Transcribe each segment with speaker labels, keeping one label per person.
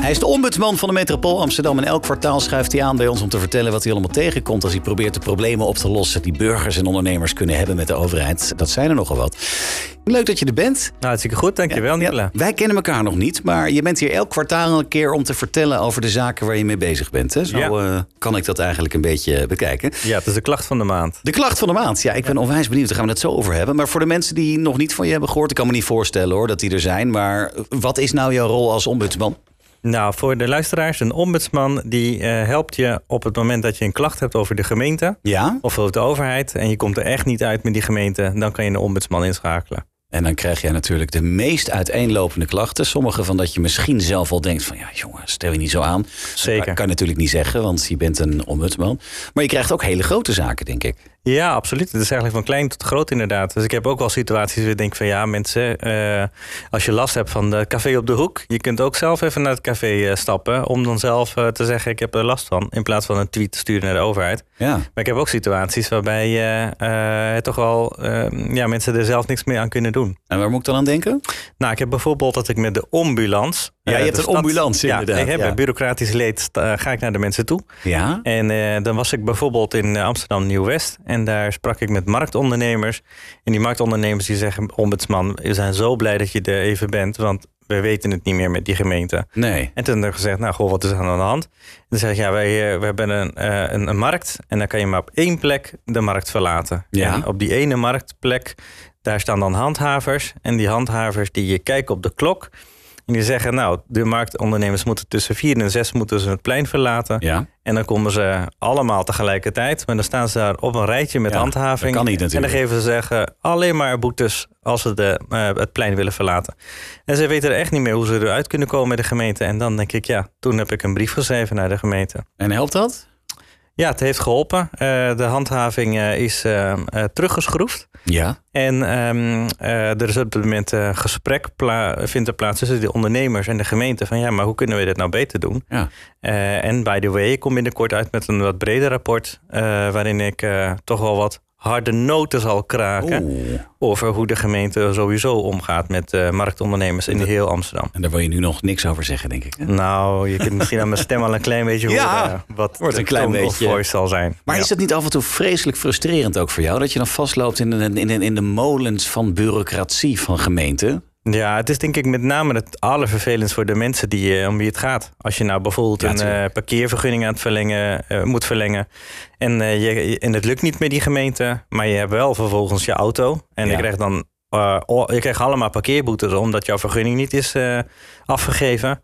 Speaker 1: Hij is de ombudsman van de metropool Amsterdam. En elk kwartaal schuift hij aan bij ons om te vertellen wat hij allemaal tegenkomt. als hij probeert de problemen op te lossen. die burgers en ondernemers kunnen hebben met de overheid. Dat zijn er nogal wat. Leuk dat je er bent.
Speaker 2: Nou, hartstikke goed, dankjewel Nicola.
Speaker 1: Wij kennen elkaar nog niet, maar je bent hier elk kwartaal een keer om te vertellen over de zaken waar je mee bezig bent. Hè? Zo
Speaker 2: Ja.
Speaker 1: eh, kan ik dat eigenlijk een beetje bekijken.
Speaker 2: Ja, het is de klacht van de maand.
Speaker 1: De klacht van de maand. Ja, ik ben onwijs benieuwd. Daar gaan we het zo over hebben. Maar voor de mensen die nog niet van je hebben gehoord, ik kan me niet voorstellen hoor dat die er zijn. Maar wat is nou jouw rol als ombudsman?
Speaker 2: Nou, voor de luisteraars, een ombudsman die eh, helpt je op het moment dat je een klacht hebt over de gemeente
Speaker 1: Ja.
Speaker 2: of over de overheid en je komt er echt niet uit met die gemeente, dan kan je een ombudsman inschakelen.
Speaker 1: En dan krijg jij natuurlijk de meest uiteenlopende klachten. Sommige van dat je misschien zelf al denkt van... ja jongen, stel je niet zo aan.
Speaker 2: Zeker.
Speaker 1: Dat kan je natuurlijk niet zeggen, want je bent een ombudsman. Maar je krijgt ook hele grote zaken, denk ik.
Speaker 2: Ja, absoluut. Het is eigenlijk van klein tot groot inderdaad. Dus ik heb ook wel situaties waar ik denk van ja mensen, eh, als je last hebt van de café op de hoek, je kunt ook zelf even naar het café eh, stappen om dan zelf eh, te zeggen ik heb er last van, in plaats van een tweet te sturen naar de overheid.
Speaker 1: Ja.
Speaker 2: Maar ik heb ook situaties waarbij eh, eh, het toch wel eh, ja, mensen er zelf niks meer aan kunnen doen.
Speaker 1: En waar moet ik dan aan denken?
Speaker 2: Nou, ik heb bijvoorbeeld dat ik met de ambulance.
Speaker 1: Ja, je
Speaker 2: eh,
Speaker 1: hebt
Speaker 2: de
Speaker 1: een ambulance,
Speaker 2: ja,
Speaker 1: inderdaad,
Speaker 2: Ik heb
Speaker 1: ja.
Speaker 2: een bureaucratisch leed, eh, ga ik naar de mensen toe.
Speaker 1: Ja.
Speaker 2: En eh, dan was ik bijvoorbeeld in eh, Amsterdam Nieuw-West. En daar sprak ik met marktondernemers. En die marktondernemers die zeggen, ombudsman, we zijn zo blij dat je er even bent. Want we weten het niet meer met die gemeente.
Speaker 1: Nee.
Speaker 2: En toen hebben we gezegd, nou goh, wat is er aan de hand? En dan zeg ik, ja, wij, eh, we hebben een, eh, een, een markt en dan kan je maar op één plek de markt verlaten.
Speaker 1: Ja.
Speaker 2: En op die ene marktplek, daar staan dan handhavers. En die handhavers die je kijken op de klok en die zeggen, nou, de marktondernemers moeten tussen vier en zes moeten ze het plein verlaten.
Speaker 1: Ja.
Speaker 2: En dan komen ze allemaal tegelijkertijd. Maar dan staan ze daar op een rijtje met
Speaker 1: Ja,
Speaker 2: handhaving.
Speaker 1: dat kan niet natuurlijk.
Speaker 2: En dan geven ze zeggen alleen maar boetes als ze de, eh, het plein willen verlaten. En ze weten er echt niet meer hoe ze eruit kunnen komen met de gemeente. En dan denk ik, ja, toen heb ik een brief geschreven naar de gemeente.
Speaker 1: En helpt dat?
Speaker 2: Ja, het heeft geholpen. Eh, de handhaving eh, is eh, eh, teruggeschroefd.
Speaker 1: Ja.
Speaker 2: En ehm, eh, er is op dit moment een gesprek pla- vindt er plaats tussen de ondernemers en de gemeente. Van ja, maar hoe kunnen we dit nou beter doen?
Speaker 1: Ja.
Speaker 2: Eh, en by the way, ik kom binnenkort uit met een wat breder rapport. eh, waarin ik eh, toch wel wat harde noten zal kraken.
Speaker 1: Oeh.
Speaker 2: Over hoe de gemeente sowieso omgaat met eh, marktondernemers in heel Amsterdam.
Speaker 1: En daar wil je nu nog niks over zeggen, denk ik. hè?
Speaker 2: Nou, je kunt misschien aan mijn stem al een klein beetje
Speaker 1: Ja,
Speaker 2: horen eh, wat
Speaker 1: wordt
Speaker 2: de
Speaker 1: een klein
Speaker 2: tone of
Speaker 1: beetje.
Speaker 2: voice zal zijn.
Speaker 1: Maar
Speaker 2: Ja.
Speaker 1: is het niet af en toe vreselijk frustrerend ook voor jou? Dat je dan vastloopt in, in, in, in de molens van bureaucratie van gemeenten?
Speaker 2: Ja, het is denk ik met name het allervervelendst voor de mensen die, eh, om wie het gaat. Als je nou bijvoorbeeld
Speaker 1: Ja,
Speaker 2: een eh,
Speaker 1: tuurlijk.
Speaker 2: parkeervergunning aan het verlengen, eh, moet verlengen. En, eh, je- je, en het lukt niet met die gemeente, maar je hebt wel vervolgens je auto. En
Speaker 1: Ja.
Speaker 2: je krijgt dan eh, o- je krijgt allemaal parkeerboetes omdat jouw vergunning niet is eh, afgegeven.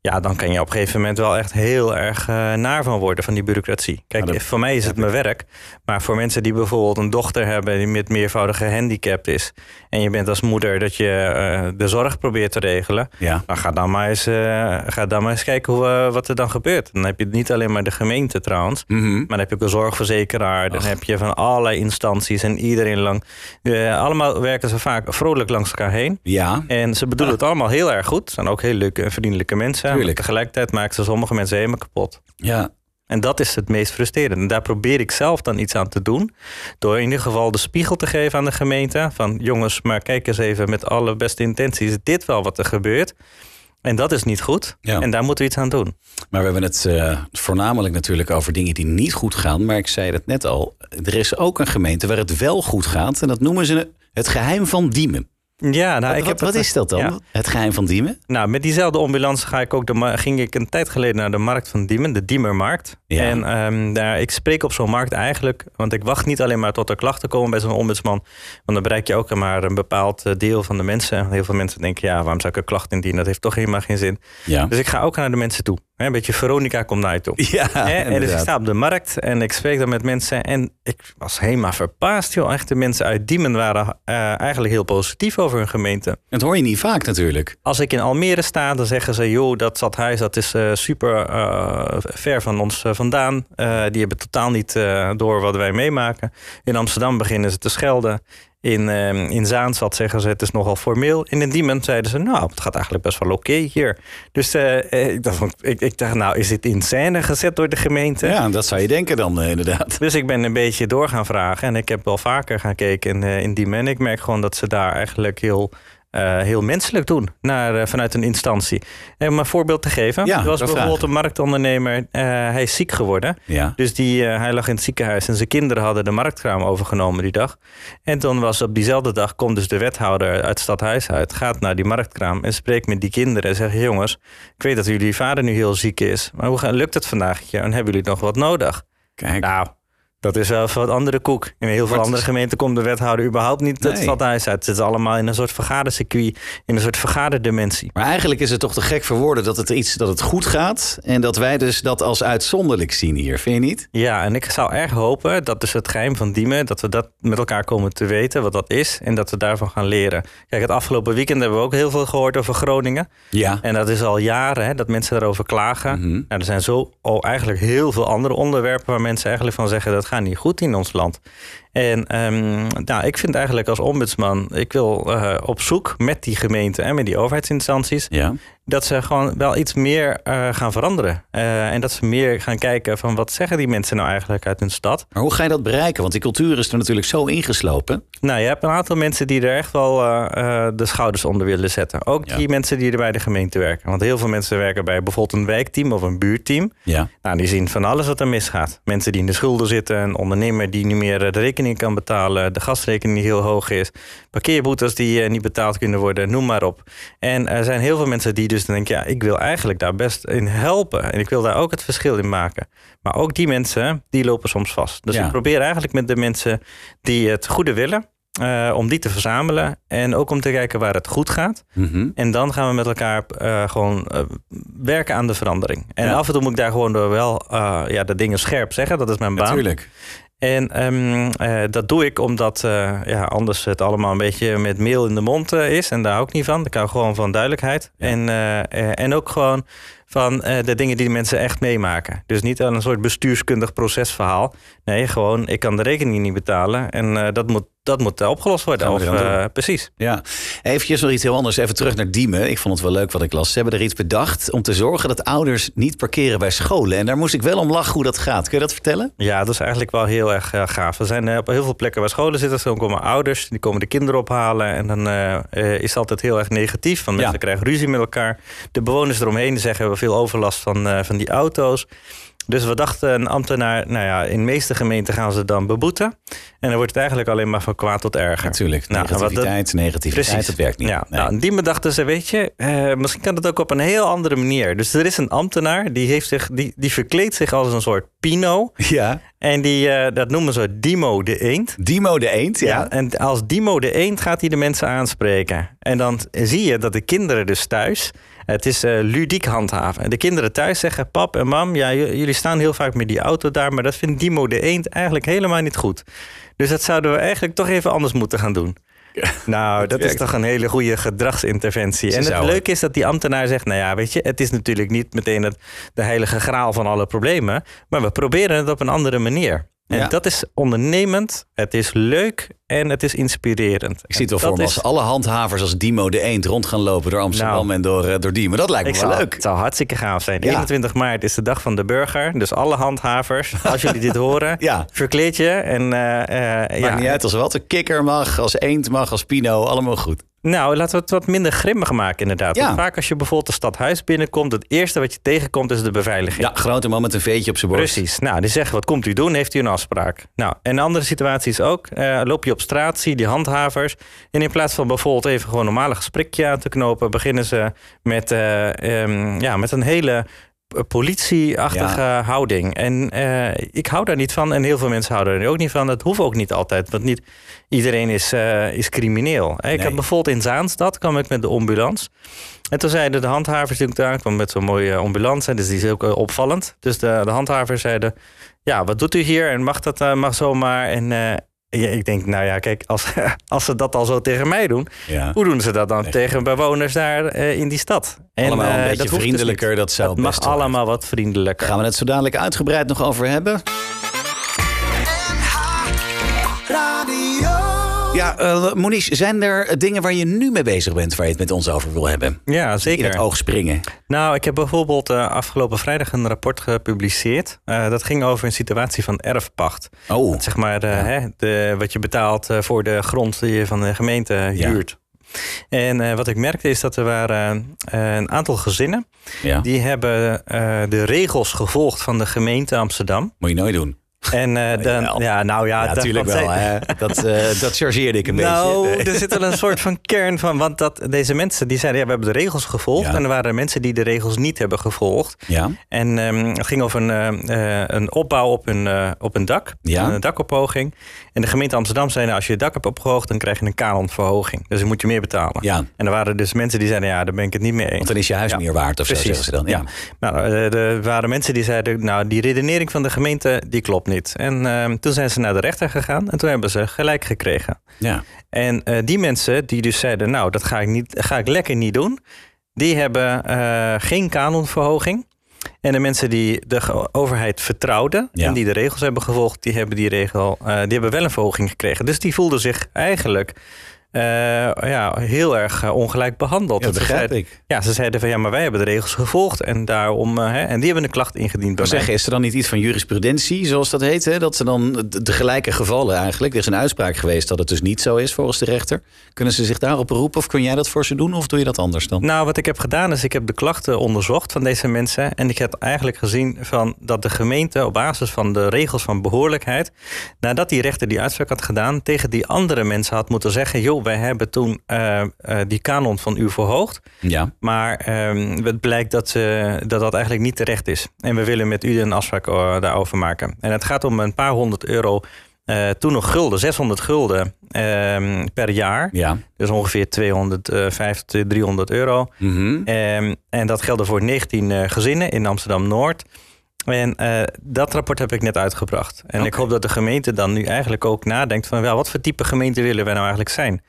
Speaker 2: Ja, dan kan je op een gegeven moment wel echt heel erg eh, naar van worden van die bureaucratie. Kijk,
Speaker 1: Ja, dat-
Speaker 2: voor mij is het mijn werk. Maar voor mensen die bijvoorbeeld een dochter hebben die met meervoudige handicap is. En je bent als moeder dat je eh, de zorg probeert te regelen.
Speaker 1: Ja.
Speaker 2: Nou, ga dan maar eens, eh, ga dan maar eens kijken hoe, eh, wat er dan gebeurt. Dan heb je niet alleen maar de gemeente trouwens.
Speaker 1: Mhm.
Speaker 2: Maar dan heb je ook een zorgverzekeraar. Dan heb je van allerlei instanties en iedereen lang. eh, allemaal werken ze vaak vrolijk langs elkaar heen.
Speaker 1: Ja.
Speaker 2: En ze bedoelen het allemaal heel erg goed. Zijn ook heel leuke en vriendelijke mensen.
Speaker 1: Tuurlijk.
Speaker 2: Maar tegelijkertijd maken ze sommige mensen helemaal kapot.
Speaker 1: Ja.
Speaker 2: En dat is het meest frustrerende. En daar probeer ik zelf dan iets aan te doen. Door in ieder geval de spiegel te geven aan de gemeente. Van jongens, maar kijk eens even met alle beste intenties. Is dit wel wat er gebeurt? En dat is niet goed.
Speaker 1: Ja.
Speaker 2: En daar moeten we iets aan doen.
Speaker 1: Maar we hebben het eh, voornamelijk natuurlijk over dingen die niet goed gaan. Maar ik zei het net al, er is ook een gemeente waar het wel goed gaat. En dat noemen ze het geheim van Diemen.
Speaker 2: Ja, nou, ik
Speaker 1: wat
Speaker 2: heb
Speaker 1: wat
Speaker 2: het-
Speaker 1: is dat dan?
Speaker 2: Ja.
Speaker 1: Het geheim van Diemen?
Speaker 2: Nou, met diezelfde ambulance ga ik ook de, ma- ging ik een tijd geleden naar de markt van Diemen, de Diemermarkt.
Speaker 1: Ja.
Speaker 2: En ehm, daar, ik spreek op zo'n markt eigenlijk, want ik wacht niet alleen maar tot er klachten komen bij zo'n ombudsman. Want dan bereik je ook maar een bepaald eh, deel van de mensen. Heel veel mensen denken, ja, waarom zou ik een klacht indienen? Dat heeft toch helemaal geen zin.
Speaker 1: Ja.
Speaker 2: Dus ik ga ook naar de mensen toe. Hè, Een beetje Veronica komt naar je toe.
Speaker 1: Ja,
Speaker 2: Hè, en dus ik
Speaker 1: inderdaad.
Speaker 2: sta op de markt en ik spreek dan met mensen. En ik was helemaal verbaasd, joh. Echt, de mensen uit Diemen waren eh, eigenlijk heel positief over hun gemeente.
Speaker 1: Dat hoor je niet vaak natuurlijk.
Speaker 2: Als ik in Almere sta, dan zeggen ze: joh, dat stadhuis dat is eh, super eh, ver van ons eh, vandaan. Eh, die hebben totaal niet eh, door wat wij meemaken. In Amsterdam beginnen ze te schelden. In, ehm in Zaanstad zeggen ze het is nogal formeel. En in Diemen zeiden ze nou het gaat eigenlijk best wel oké hier. Dus eh, eh, ik, dacht, van- ik, ik dacht nou is dit in scène gezet door de gemeente?
Speaker 1: Ja, dat zou je denken dan eh, inderdaad.
Speaker 2: Dus ik ben een beetje door gaan vragen. En ik heb wel vaker gaan kijken in, eh, in Diemen. En ik merk gewoon dat ze daar eigenlijk heel, eh, heel menselijk doen. Naar, eh, vanuit een instantie. En om een voorbeeld te geven.
Speaker 1: Ja,
Speaker 2: er
Speaker 1: dat
Speaker 2: was bijvoorbeeld
Speaker 1: graag.
Speaker 2: een marktondernemer. eh, hij is ziek geworden.
Speaker 1: Ja.
Speaker 2: Dus die, eh, hij lag in het ziekenhuis en zijn kinderen hadden de marktkraam overgenomen die dag. En dan was op diezelfde dag, komt dus de wethouder uit het stadhuis uit, gaat naar die marktkraam en spreekt met die kinderen en zegt, jongens, ik weet dat jullie vader nu heel ziek is, maar hoe ga- lukt het vandaag? Ja, en hebben jullie nog wat nodig?
Speaker 1: Kijk.
Speaker 2: Nou, dat is wel even wat andere koek. In heel veel
Speaker 1: het
Speaker 2: andere
Speaker 1: is-
Speaker 2: gemeenten komt de wethouder überhaupt niet het
Speaker 1: Nee.
Speaker 2: stadhuis uit. Het zit allemaal in een soort vergadercircuit, in een soort vergaderdimensie.
Speaker 1: Maar eigenlijk is het toch te gek voor woorden dat het, iets, dat het goed gaat. En dat wij dus dat als uitzonderlijk zien hier, vind je niet?
Speaker 2: Ja, en ik zou erg hopen dat dus het geheim van Diemen, dat we dat met elkaar komen te weten, wat dat is, en dat we daarvan gaan leren. Kijk, het afgelopen weekend hebben we ook heel veel gehoord over Groningen.
Speaker 1: Ja.
Speaker 2: En dat is al jaren hè, dat mensen daarover klagen.
Speaker 1: Mhm.
Speaker 2: Nou, er zijn zo al eigenlijk heel veel andere onderwerpen waar mensen eigenlijk van zeggen dat gaat niet goed in ons land. En ehm, nou, ik vind eigenlijk als ombudsman, ik wil eh, op zoek met die gemeenten en met die overheidsinstanties
Speaker 1: Ja.
Speaker 2: dat ze gewoon wel iets meer eh, gaan veranderen. Eh, en dat ze meer gaan kijken van wat zeggen die mensen nou eigenlijk uit hun stad.
Speaker 1: Maar hoe ga je dat bereiken? Want die cultuur is er natuurlijk zo ingeslopen.
Speaker 2: Nou, je hebt een aantal mensen die er echt wel eh, eh, de schouders onder willen zetten. Ook
Speaker 1: Ja.
Speaker 2: die mensen die er bij de gemeente werken. Want heel veel mensen werken bij bijvoorbeeld een wijkteam of een buurteam.
Speaker 1: Ja.
Speaker 2: Nou, die zien van alles wat er misgaat. Mensen die in de schulden zitten, een ondernemer die niet meer eh, de rekening kan betalen, de gasrekening die heel hoog is, parkeerboetes die eh, niet betaald kunnen worden, noem maar op. En er zijn heel veel mensen die dus denken, ja, ik wil eigenlijk daar best in helpen en ik wil daar ook het verschil in maken. Maar ook die mensen, die lopen soms vast. Dus
Speaker 1: Ja.
Speaker 2: ik probeer eigenlijk met de mensen die het goede willen, eh, om die te verzamelen en ook om te kijken waar het goed gaat.
Speaker 1: Mhm.
Speaker 2: En dan gaan we met elkaar eh, gewoon eh, werken aan de verandering. En
Speaker 1: Ja.
Speaker 2: af en toe moet ik daar gewoon door wel eh, ja, de dingen scherp zeggen. Dat is mijn baan.
Speaker 1: Natuurlijk.
Speaker 2: En ehm, eh, dat doe ik omdat eh, ja, anders het allemaal een beetje met meel in de mond eh, is. En daar hou ik niet van. Ik hou gewoon van duidelijkheid. En, eh, eh, en ook gewoon van eh, de dingen die de mensen echt meemaken. Dus niet aan een soort bestuurskundig procesverhaal. Nee, gewoon ik kan de rekening niet betalen. En eh, dat moet, dat moet eh, opgelost worden.
Speaker 1: Gaan we
Speaker 2: Of,
Speaker 1: eraan doen.
Speaker 2: eh, precies.
Speaker 1: Ja. Even nog iets heel anders. Even terug naar Diemen. Ik vond het wel leuk wat ik las. Ze hebben er iets bedacht om te zorgen dat ouders niet parkeren bij scholen. En daar moest ik wel om lachen hoe dat gaat. Kun je dat vertellen?
Speaker 2: Ja, dat is eigenlijk wel heel erg eh, gaaf. Er zijn eh, op heel veel plekken waar scholen zitten. Dan komen ouders, die komen de kinderen ophalen. En dan eh, eh, is het altijd heel erg negatief. Want mensen
Speaker 1: Ja.
Speaker 2: krijgen ruzie met elkaar. De bewoners eromheen zeggen, we hebben veel overlast van, eh, van die auto's. Dus we dachten een ambtenaar, nou ja, in de meeste gemeenten gaan ze dan beboeten. En dan wordt het eigenlijk alleen maar van kwaad tot erger.
Speaker 1: Natuurlijk.
Speaker 2: Nou, en wat dat-
Speaker 1: Negativiteit, negativiteit. Dat werkt niet.
Speaker 2: Ja,
Speaker 1: Nee.
Speaker 2: nou, die bedachten ze, weet je, eh, misschien kan dat ook op een heel andere manier. Dus er is een ambtenaar, die, heeft zich, die, die verkleedt zich als een soort pino.
Speaker 1: Ja.
Speaker 2: En die, eh, dat noemen ze Dimo de Eend.
Speaker 1: Dimo de Eend. Ja.
Speaker 2: En als Dimo de Eend gaat hij de mensen aanspreken. En dan zie je dat de kinderen dus thuis... Het is eh, ludiek handhaven. En de kinderen thuis zeggen... Pap en mam, ja, j- jullie staan heel vaak met die auto daar... maar dat vindt Dimo de Eend eigenlijk helemaal niet goed. Dus dat zouden we eigenlijk toch even anders moeten gaan doen. Nou, dat is
Speaker 1: werkt.
Speaker 2: toch een hele goede gedragsinterventie.
Speaker 1: Ze
Speaker 2: en het
Speaker 1: zouden.
Speaker 2: leuke is dat die ambtenaar zegt... nou ja, weet je, het is natuurlijk niet meteen het, de heilige graal van alle problemen... maar we proberen het op een andere manier. En
Speaker 1: Ja.
Speaker 2: dat is ondernemend, het is leuk en het is inspirerend.
Speaker 1: Ik zie het wel voor me als
Speaker 2: is-
Speaker 1: alle handhavers als Dimo de Eend rond gaan lopen door Amsterdam
Speaker 2: Nou.
Speaker 1: en door, eh, door Diemen. Dat lijkt
Speaker 2: Ik
Speaker 1: me wel
Speaker 2: zou,
Speaker 1: leuk.
Speaker 2: Het zou hartstikke gaaf zijn.
Speaker 1: Ja.
Speaker 2: 21 maart is de dag van de burger. Dus alle handhavers, als jullie dit horen,
Speaker 1: Ja.
Speaker 2: verkleed je. En, eh, eh,
Speaker 1: Maakt
Speaker 2: ja.
Speaker 1: niet uit als wat. Een kikker mag, als eend mag, als pino. Allemaal goed.
Speaker 2: Nou, laten we het wat minder grimmig maken inderdaad.
Speaker 1: Ja.
Speaker 2: Want Vaak als je bijvoorbeeld een stadhuis binnenkomt... het eerste wat je tegenkomt is de beveiliging.
Speaker 1: Ja, grote man met een veetje op zijn borst.
Speaker 2: Precies. Nou, die zeggen, wat komt u doen? Heeft u een afspraak? Nou, en andere situaties ook. Eh, loop je op straat, zie je die handhavers. En in plaats van bijvoorbeeld even gewoon een normale gesprekje aan te knopen... beginnen ze met, eh, ehm, ja, met een hele eh, politieachtige houding. En eh, ik hou daar niet van. En heel veel mensen houden er ook niet van. Dat hoeft ook niet altijd. Want niet iedereen is, eh, is crimineel. Eh, Ik
Speaker 1: Nee.
Speaker 2: heb bijvoorbeeld in Zaanstad... kwam ik met de ambulance... En toen zeiden de handhavers die ik daar kwam met zo'n mooie ambulance. Dus die is ook eh, opvallend. Dus de, de handhavers zeiden, ja, wat doet u hier? En mag dat eh, mag zomaar? En eh, ja, ik denk, nou ja, kijk, als, als ze dat al zo tegen mij doen...
Speaker 1: Ja.
Speaker 2: hoe doen ze dat dan
Speaker 1: Echt.
Speaker 2: tegen bewoners daar eh, in die stad? En,
Speaker 1: allemaal
Speaker 2: eh,
Speaker 1: een
Speaker 2: dat
Speaker 1: beetje
Speaker 2: hoeft dus
Speaker 1: vriendelijker.
Speaker 2: niet.
Speaker 1: dat zou
Speaker 2: Het
Speaker 1: best
Speaker 2: mag
Speaker 1: wel.
Speaker 2: allemaal wat vriendelijker.
Speaker 1: Gaan we het zo dadelijk uitgebreid nog over hebben.
Speaker 3: Radio.
Speaker 1: Ja, eh Monique, zijn er dingen waar je nu mee bezig bent waar je het met ons over wil hebben?
Speaker 2: Ja,
Speaker 1: In het
Speaker 2: zeker.
Speaker 1: oog springen.
Speaker 2: Nou, ik heb bijvoorbeeld eh, afgelopen vrijdag een rapport gepubliceerd. Eh, dat ging over een situatie van erfpacht.
Speaker 1: Oh,
Speaker 2: Zeg maar, eh, hè, de, wat je betaalt eh, voor de grond die je van de gemeente
Speaker 1: Ja.
Speaker 2: huurt. En eh, wat ik merkte is dat er waren eh, een aantal gezinnen...
Speaker 1: ja.
Speaker 2: die hebben eh, de regels gevolgd van de gemeente Amsterdam.
Speaker 1: Moet je nooit doen.
Speaker 2: En eh,
Speaker 1: jawel.
Speaker 2: dan, ja, nou ja,
Speaker 1: Ja,
Speaker 2: dat-
Speaker 1: natuurlijk
Speaker 2: want
Speaker 1: wel.
Speaker 2: zij-
Speaker 1: Hè? Dat, eh, dat chargeerde ik een
Speaker 2: nou,
Speaker 1: beetje.
Speaker 2: er zit wel een soort van kern van. Want dat, deze mensen die zeiden, ja, we hebben de regels gevolgd.
Speaker 1: Ja.
Speaker 2: En er waren mensen die de regels niet hebben gevolgd.
Speaker 1: Ja,
Speaker 2: En ehm, het ging over een, eh, eh, een opbouw op een, eh, op een dak.
Speaker 1: Ja.
Speaker 2: Een dakophoging. En de gemeente Amsterdam zei, nou, als je het dak hebt opgehoogd, dan krijg je een kanonverhoging. Dus dan moet je meer betalen.
Speaker 1: ja.
Speaker 2: En er waren dus mensen die zeiden, ja, daar ben ik het niet mee eens.
Speaker 1: Want dan is je huis
Speaker 2: Ja,
Speaker 1: meer waard of zo
Speaker 2: Precies.
Speaker 1: zeggen ze dan. Ja.
Speaker 2: Nou, eh, er waren mensen die zeiden, nou, die redenering van de gemeente, die klopt niet. En ehm, toen zijn ze naar de rechter gegaan en toen hebben ze gelijk gekregen.
Speaker 1: Ja.
Speaker 2: En eh, die mensen die dus zeiden, nou, dat ga ik, niet, ga ik lekker niet doen, die hebben eh, geen kanonverhoging. En de mensen die de ge- overheid vertrouwden
Speaker 1: Ja.
Speaker 2: en die de regels hebben gevolgd, die hebben, die, regel, eh, die hebben wel een verhoging gekregen. Dus die voelden zich eigenlijk eh, ja, heel erg eh, ongelijk behandeld.
Speaker 1: Ja,
Speaker 2: Want ze
Speaker 1: begrijp
Speaker 2: zeiden-
Speaker 1: ik.
Speaker 2: ja, ze zeiden van ja, maar wij hebben de regels gevolgd en daarom eh, hè, en die hebben een klacht ingediend bij
Speaker 1: Maar
Speaker 2: mij.
Speaker 1: zeggen, is er dan niet iets van jurisprudentie, zoals dat heet? Hè? Dat ze dan de- de gelijke gevallen eigenlijk. Er is een uitspraak geweest dat het dus niet zo is volgens de rechter. Kunnen ze zich daarop beroepen of kun jij dat voor ze doen of doe je dat anders dan?
Speaker 2: Nou, wat ik heb gedaan is ik heb de klachten onderzocht van deze mensen en ik heb eigenlijk gezien van dat de gemeente op basis van de regels van behoorlijkheid, nadat die rechter die uitspraak had gedaan, tegen die andere mensen had moeten zeggen, joh, wij hebben toen eh, eh, die kanon van u verhoogd,
Speaker 1: Ja,
Speaker 2: maar ehm, het blijkt dat, eh, dat dat eigenlijk niet terecht is. En we willen met u een afspraak eh, daarover maken. En het gaat om een paar honderd euro, eh, toen nog gulden, 600 gulden ehm, per jaar.
Speaker 1: ja.
Speaker 2: Dus ongeveer 250, 300 euro.
Speaker 1: Mhm.
Speaker 2: Ehm, en dat geldt voor 19 eh, gezinnen in Amsterdam-Noord. En eh, dat rapport heb ik net uitgebracht. En ik
Speaker 1: Oké.
Speaker 2: hoop dat de gemeente dan nu eigenlijk ook nadenkt van... wel, wat voor type gemeente willen wij nou eigenlijk zijn?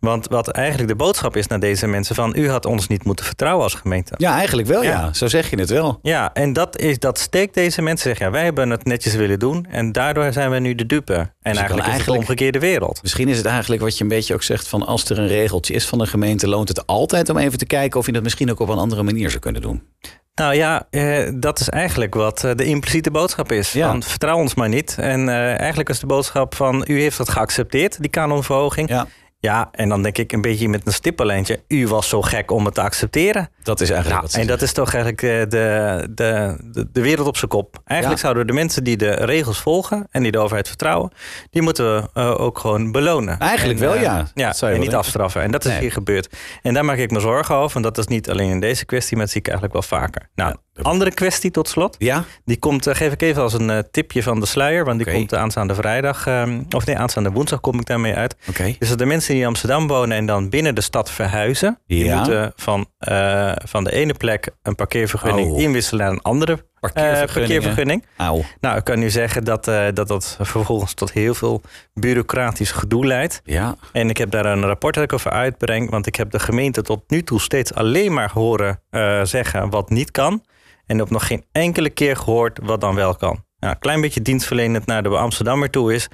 Speaker 2: Want wat eigenlijk de boodschap is naar deze mensen van... u had ons niet moeten vertrouwen als gemeente.
Speaker 1: Ja, eigenlijk wel ja.
Speaker 2: Ja.
Speaker 1: Zo zeg je het wel.
Speaker 2: Ja, en dat, is, dat steekt deze mensen. Zeggen, ja, wij hebben het netjes willen doen en daardoor zijn we nu de dupe. En eigenlijk is het de
Speaker 1: Dus eigenlijk-
Speaker 2: omgekeerde wereld.
Speaker 1: Misschien is het eigenlijk wat je een beetje ook zegt van als er een regeltje is van een gemeente, loont het altijd om even te kijken of je dat misschien ook op een andere manier zou kunnen doen.
Speaker 2: Nou ja, eh, dat is eigenlijk wat eh, de impliciete boodschap is.
Speaker 1: Ja.
Speaker 2: Van, vertrouw ons maar niet. En eh, eigenlijk is de boodschap van u heeft dat geaccepteerd, die kanonverhoging.
Speaker 1: Ja.
Speaker 2: Ja, en dan denk ik een beetje met een stippenlijntje. U was zo gek om het te accepteren.
Speaker 1: Dat is eigenlijk
Speaker 2: Nou,
Speaker 1: wat ze
Speaker 2: en dat is toch eigenlijk eh, de, de, de, de wereld op zijn kop. Eigenlijk
Speaker 1: Ja.
Speaker 2: zouden de mensen die de regels volgen en die de overheid vertrouwen, die moeten we eh, ook gewoon belonen.
Speaker 1: Eigenlijk
Speaker 2: En,
Speaker 1: wel,
Speaker 2: eh,
Speaker 1: ja. Dat zou je
Speaker 2: ja
Speaker 1: wel
Speaker 2: en niet
Speaker 1: denken.
Speaker 2: afstraffen. En dat is
Speaker 1: Nee.
Speaker 2: hier gebeurd. En daar maak ik me zorgen over. En dat is niet alleen in deze kwestie, maar dat zie ik eigenlijk wel vaker. Nou,
Speaker 1: Ja, dat-
Speaker 2: andere kwestie tot slot.
Speaker 1: Ja?
Speaker 2: Die komt, eh, geef ik even als een eh, tipje van de sluier. Want die
Speaker 1: Oké.
Speaker 2: komt eh, aanstaande vrijdag, ehm, of nee, aanstaande woensdag kom ik daarmee uit.
Speaker 1: Oké.
Speaker 2: Dus dat de mensen die in Amsterdam wonen en dan binnen de stad verhuizen, die
Speaker 1: Ja.
Speaker 2: moeten van, eh, van de ene plek een parkeervergunning
Speaker 1: Oh.
Speaker 2: inwisselen naar een andere eh,
Speaker 1: Parkeervergunningen.
Speaker 2: parkeervergunning.
Speaker 1: Auw.
Speaker 2: Nou, ik kan nu zeggen dat, eh, dat dat vervolgens tot heel veel bureaucratisch gedoe leidt.
Speaker 1: Ja.
Speaker 2: En ik heb daar een rapport dat ik over uitbreng, want ik heb de gemeente tot nu toe steeds alleen maar horen eh, zeggen wat niet kan. En op nog geen enkele keer gehoord wat dan wel kan. Nou, een klein beetje dienstverlenend naar de Amsterdammer toe is,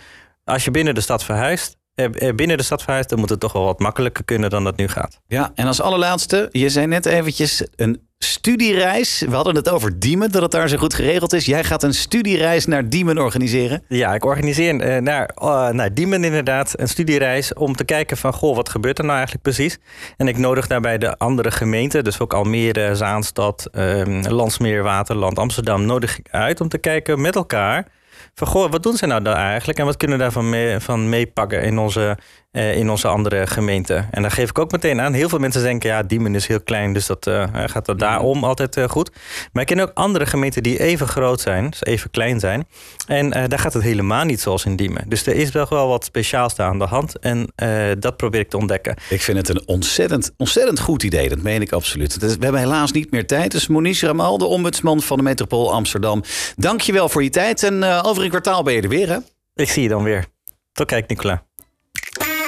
Speaker 2: als je binnen de stad verhuist, eh, eh, binnen de stad verhuist, dan moet het toch wel wat makkelijker kunnen dan dat nu gaat.
Speaker 1: Ja, en als allerlaatste, je zei net eventjes een studiereis. We hadden het over Diemen, dat het daar zo goed geregeld is. Jij gaat een studiereis naar Diemen organiseren.
Speaker 2: Ja, ik organiseer eh, naar, eh, naar Diemen inderdaad een studiereis om te kijken van, goh, wat gebeurt er nou eigenlijk precies? En ik nodig daarbij de andere gemeenten, dus ook Almere, Zaanstad, ehm, Landsmeer, Waterland, Amsterdam, nodig ik uit om te kijken met elkaar van, goh, wat doen ze nou daar eigenlijk en wat kunnen we daarvan mee, van meepakken in onze, eh, in onze andere gemeenten? En daar geef ik ook meteen aan, heel veel mensen denken, ja, Diemen is heel klein, dus dat eh, gaat dat daarom altijd eh, goed. Maar ik ken ook andere gemeenten die even groot zijn, dus even klein zijn. En eh, daar gaat het helemaal niet zoals in Diemen. Dus er is wel wel wat speciaals daar aan de hand. En eh, dat probeer ik te ontdekken.
Speaker 1: Ik vind het een ontzettend, ontzettend goed idee. Dat meen ik absoluut. Het is- We hebben helaas niet meer tijd. Dus Monique Ramal, de ombudsman van de metropool Amsterdam. Dank je wel voor je tijd. En eh, over een kwartaal ben je er weer, hè?
Speaker 2: Ik zie je dan weer. Tot kijk, Nicola.